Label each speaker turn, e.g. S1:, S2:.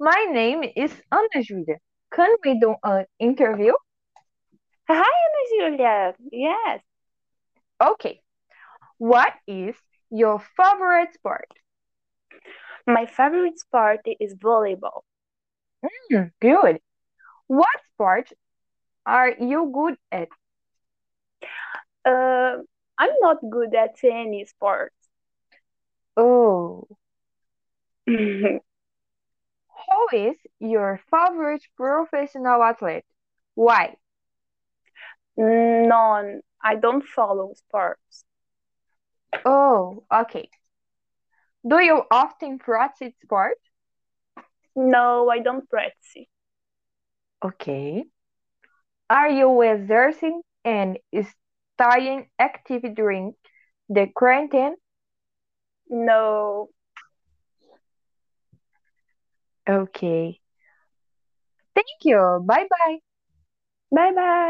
S1: My name is Ana Julia. Can we do an interview?
S2: Hi, Ana Julia. Yes.
S1: Okay. What is your favorite sport?
S2: My favorite sport is volleyball.
S1: Hmm, good. What sport are you good at?
S2: Uh, I'm not good at any sport.
S1: Oh.
S2: My
S1: Who is your favorite professional athlete? Why?
S2: None. I don't follow sports.
S1: Oh, okay. Do you often practice sport?
S2: No, I don't practice.
S1: Okay. Are you exercising and staying active during the quarantine?
S2: No.
S1: Okay. Thank you. Bye bye.
S2: Bye bye.